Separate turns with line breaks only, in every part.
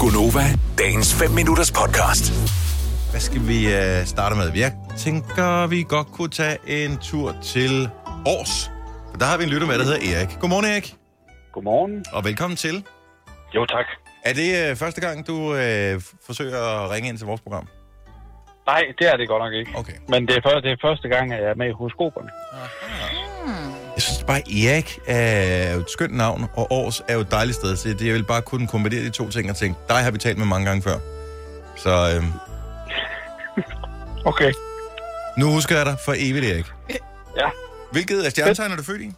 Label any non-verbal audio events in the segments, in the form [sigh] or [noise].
Gunova, dagens 5 minutters podcast.
Hvad skal vi øh, starte med? Jeg tænker, vi godt kunne tage en tur til Års. For der har vi en lytter med, der hedder Erik. Godmorgen, Erik,
Godmorgen.
og velkommen til.
Jo, tak.
Er det øh, første gang, du øh, f- forsøger at ringe ind til vores program?
Nej, det er det godt nok ikke.
Okay.
Men det er, første, det er første gang, at jeg er med i horoskoperne.
Jeg synes bare, Erik er jo et skønt navn, og Års er jo et dejligt sted. Så det- jeg vil bare kunne kombinere de to ting og tænke, dig har vi talt med mange gange før. Så øh,
Okay.
nu husker jeg dig for evigt, Erik.
Ja.
Hvilket af stjernetegn er du født i?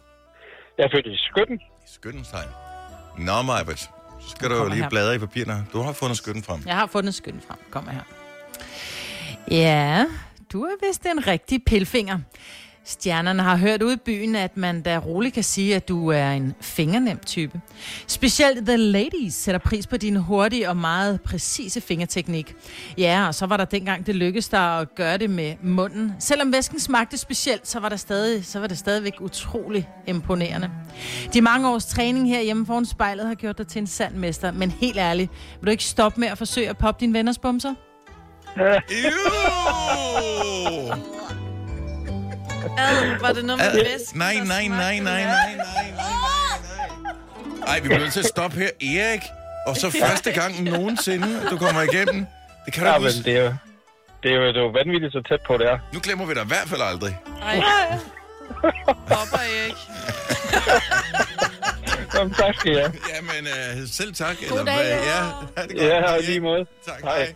Jeg er født i Skytten.
Skyttens tegn. Nå, Majbert, så skal du jo
Kommer
lige
her.
bladre i papirerne. Du har fundet skytten frem.
Jeg har fundet skøn frem. Kom her. Ja, du er vist en rigtig pilfinger. Stjernerne har hørt ude i byen, at man da roligt kan sige, at du er en fingernem type. Specielt The Ladies sætter pris på din hurtige og meget præcise fingerteknik. Ja, og så var der dengang, det lykkedes dig at gøre det med munden. Selvom væsken smagte specielt, så var, der stadig, så var det stadigvæk utrolig imponerende. De mange års træning herhjemme foran spejlet har gjort dig til en sand mester. Men helt ærligt, vil du ikke stoppe med at forsøge at poppe dine venners bumser?
Eww!
Ad, var det noget med væsken?
Nej,
der
nej, nej, nej, nej,
smagte? Ja.
nej, nej, nej. Ej, vi bliver nødt til at stoppe her, Erik. Og så første gang nogensinde, at du kommer igennem. Det kan du
Ja,
ikke
men
huske.
det er, jo, det, er jo, det er jo vanvittigt så tæt på, det er.
Nu glemmer vi dig i hvert fald aldrig.
Ej. Hopper ikke.
Jamen, tak skal jeg.
Jamen, øh, selv tak. God
dag, Erik.
ja, ha' det godt.
Ja, og
Erik.
lige måde.
Tak,
Hej.
hej.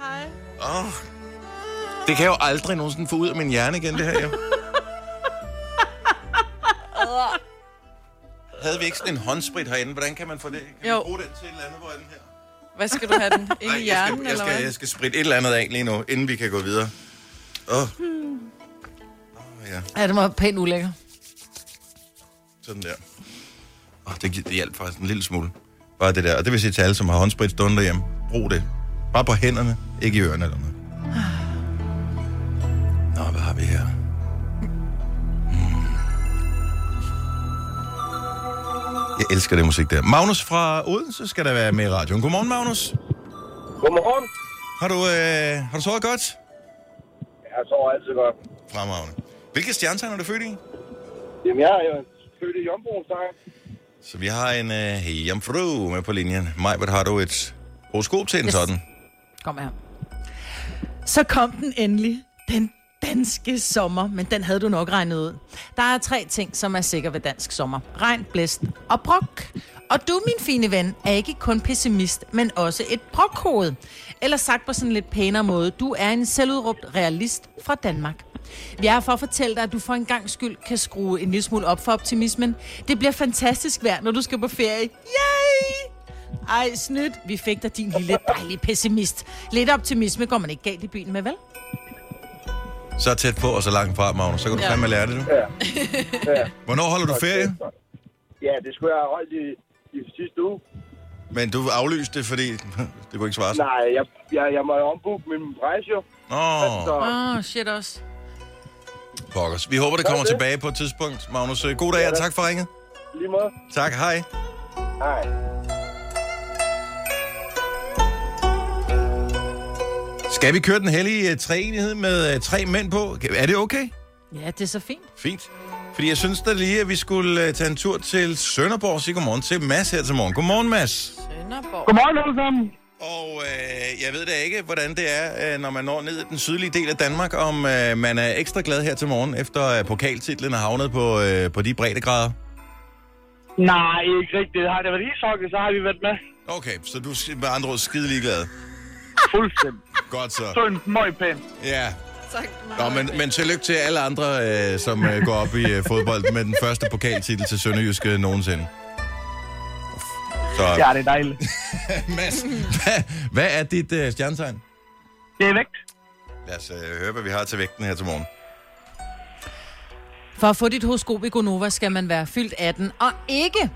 Hej.
Oh. Det kan jeg jo aldrig nogensinde få ud af min hjerne igen, det her jo. Havde vi ikke sådan en håndsprit herinde? Hvordan kan man få det? Kan
Jo.
man bruge den til et eller andet? Hvor er den her?
Hvad skal du have den? Ind i
Nej,
hjernen,
jeg skal,
eller
jeg, skal,
hvad?
jeg skal spritte et eller andet af lige nu, inden vi kan gå videre. Åh. Oh. Oh, ja,
Ja, det var pænt ulækker.
sådan der. Oh, det, gi- det hjalp faktisk en lille smule. Bare det der. Og det vil sige til alle, som har håndsprit stående derhjemme. Brug det. Bare på hænderne, ikke i ørerne eller noget. Nå, hvad har vi her? Hmm. Jeg elsker det musik der. Magnus fra Odense skal der være med i radioen. Godmorgen, Magnus.
Godmorgen.
Har du, øh, har du sovet godt?
Jeg sover altid godt.
Fremragende. Hvilke stjernetegn er du født i?
Jamen, jeg er jo født i Jomboens
Så vi har en øh, jomfru med på linjen. Maj, hvad har du et horoskop til en yes.
Yes.
sådan?
Kom her. Så kom den endelig. Den danske sommer, men den havde du nok regnet ud. Der er tre ting, som er sikre ved dansk sommer. Regn, blæst og brok. Og du, min fine ven, er ikke kun pessimist, men også et brokhoved. Eller sagt på sådan en lidt pænere måde, du er en selvudråbt realist fra Danmark. Vi er her for at fortælle dig, at du for en gang skyld kan skrue en lille smule op for optimismen. Det bliver fantastisk vejr, når du skal på ferie. Yay! Ej, snydt. Vi fik dig din lille dejlige pessimist. Lidt optimisme går man ikke galt i byen med, vel?
Så tæt på og så langt fra, Magnus. Så kan du ja.
Ja.
fandme lære det, du. Ja.
Ja.
Hvornår holder du ferie?
Ja, det skulle jeg have holdt i, i sidste uge.
Men du aflyste det, fordi [laughs] det kunne ikke svare sig.
Nej, jeg, jeg, jeg må jo ombooke min rejse jo.
Nå,
Åh, oh, shit også.
pokkers. Vi håber, det kommer tilbage på et tidspunkt, Magnus. Øh, God dag, og tak for ringet.
lige måde.
Tak, hej.
Hej.
Skal vi køre den hellige øh, treenighed med øh, tre mænd på? Kan- Er det okay?
Ja, det er så fint.
Fint. Fordi jeg synes da lige, at vi skulle øh, tage en tur til Sønderborg og sige godmorgen til Mads her til morgen. Godmorgen, Mads.
Sønderborg.
Godmorgen alle sammen.
Og øh, jeg ved da ikke, hvordan det er, øh, når man når ned i den sydlige del af Danmark, om øh, man er ekstra glad her til morgen, efter øh, pokaltitlen er havnet på, øh, på de breddegrader.
Nej, ikke rigtigt. Har det været ishockey, så har vi været med.
Okay, så du er med andre ord skide ligeglad.
Fuldstændig.
Godt
Så
så.
en møg pæn.
Ja.
Tak.
Nå, men, men tillykke til alle andre, øh, som øh, går op i øh, fodbold med den første pokaltitel til Sønderjyske nogensinde. Så,
Ja,
ja.
det er dejligt.
[laughs] Mads, hvad, hvad er dit øh, stjernetegn?
Det er vægt.
Lad os øh, høre, hvad vi har til vægten her til morgen.
For at få dit horoskop i Gonova, skal man være fyldt 18 og ikke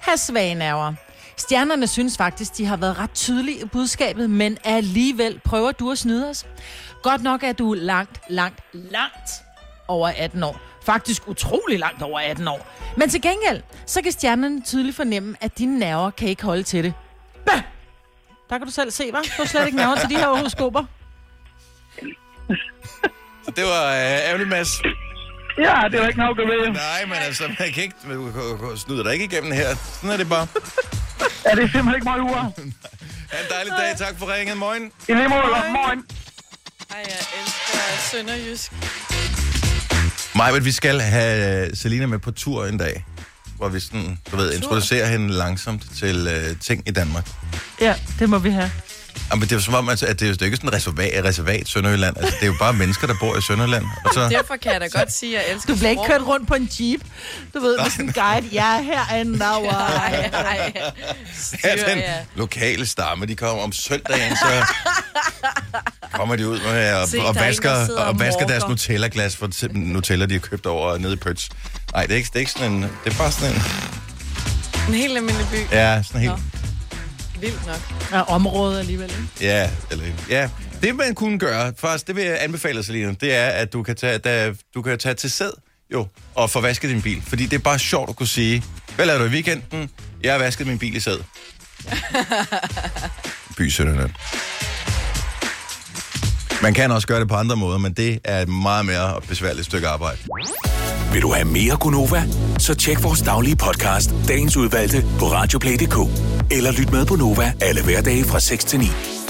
have svage nerver. Stjernerne synes faktisk, de har været ret tydelige i budskabet, men alligevel prøver du at snyde os. Godt nok er du langt, langt, langt over 18 år. Faktisk utrolig langt over 18 år. Men til gengæld, så kan stjernerne tydeligt fornemme, at dine nerver kan ikke holde til det. Bah! Der kan du selv se, hva'? Du er slet ikke nærmere til de her horoskoper.
Så det var øh, ærgerligt, Mads.
Ja, det var ikke nok at vide.
Nej, men altså, man kan ikke man kan- kan- snyde dig ikke igennem her. Sådan er det bare.
Ja, det er simpelthen ikke meget uger.
Ha' en dejlig dag. Tak for ringen. Morgen.
I lige måde, godt morgen.
Ej, jeg elsker Sønderjysk.
Maja, vi skal have øh, Selina med på tur en dag, hvor vi sådan, du ved, introducerer hende langsomt til øh, ting i Danmark.
Ja, det må vi have.
Jamen, det er jo som om, altså, at det er jo det er jo ikke sådan et reservat, reservat Sønderjylland. Altså, det er jo bare mennesker, der bor i Sønderland. Og [laughs] så,
Derfor kan jeg da godt sige, at jeg elsker
Du bliver ikke
sprog.
kørt rundt på en jeep, du ved, med sådan en guide. Ja, her er en now.
Ej, ej, ej.
her er den
ja.
lokale stamme, de kommer om søndagen, så kommer de ud med, og,
Se,
og,
der er en, der
vasker,
sidder
og
og
vasker
morker.
deres Nutella-glas for til- Nutella, de har købt over nede i Pøts. Nej, det er ikke, det er ikke sådan en... Det er bare sådan en...
En helt almindelig by.
Ja, sådan helt...
Nå. Vildt nok.
Ja, området alligevel, ikke?
Ja, eller, ja. Det man kunne gøre, faktisk, det vil jeg anbefale, Selina, det er, at du kan tage, da, du kan tage til sæd, jo, og få vasket din bil. Fordi det er bare sjovt at kunne sige, hvad lavede du i weekenden? Jeg har vasket min bil i sæd. By Sønderland. Man kan også gøre det på andre måder, men det er et meget mere besværligt stykke arbejde.
Vil du have mere Gunova? Så tjek vores daglige podcast, dagens udvalgte, på radioplay.dk. Eller lyt med på Nova alle hverdage fra 6 til 9.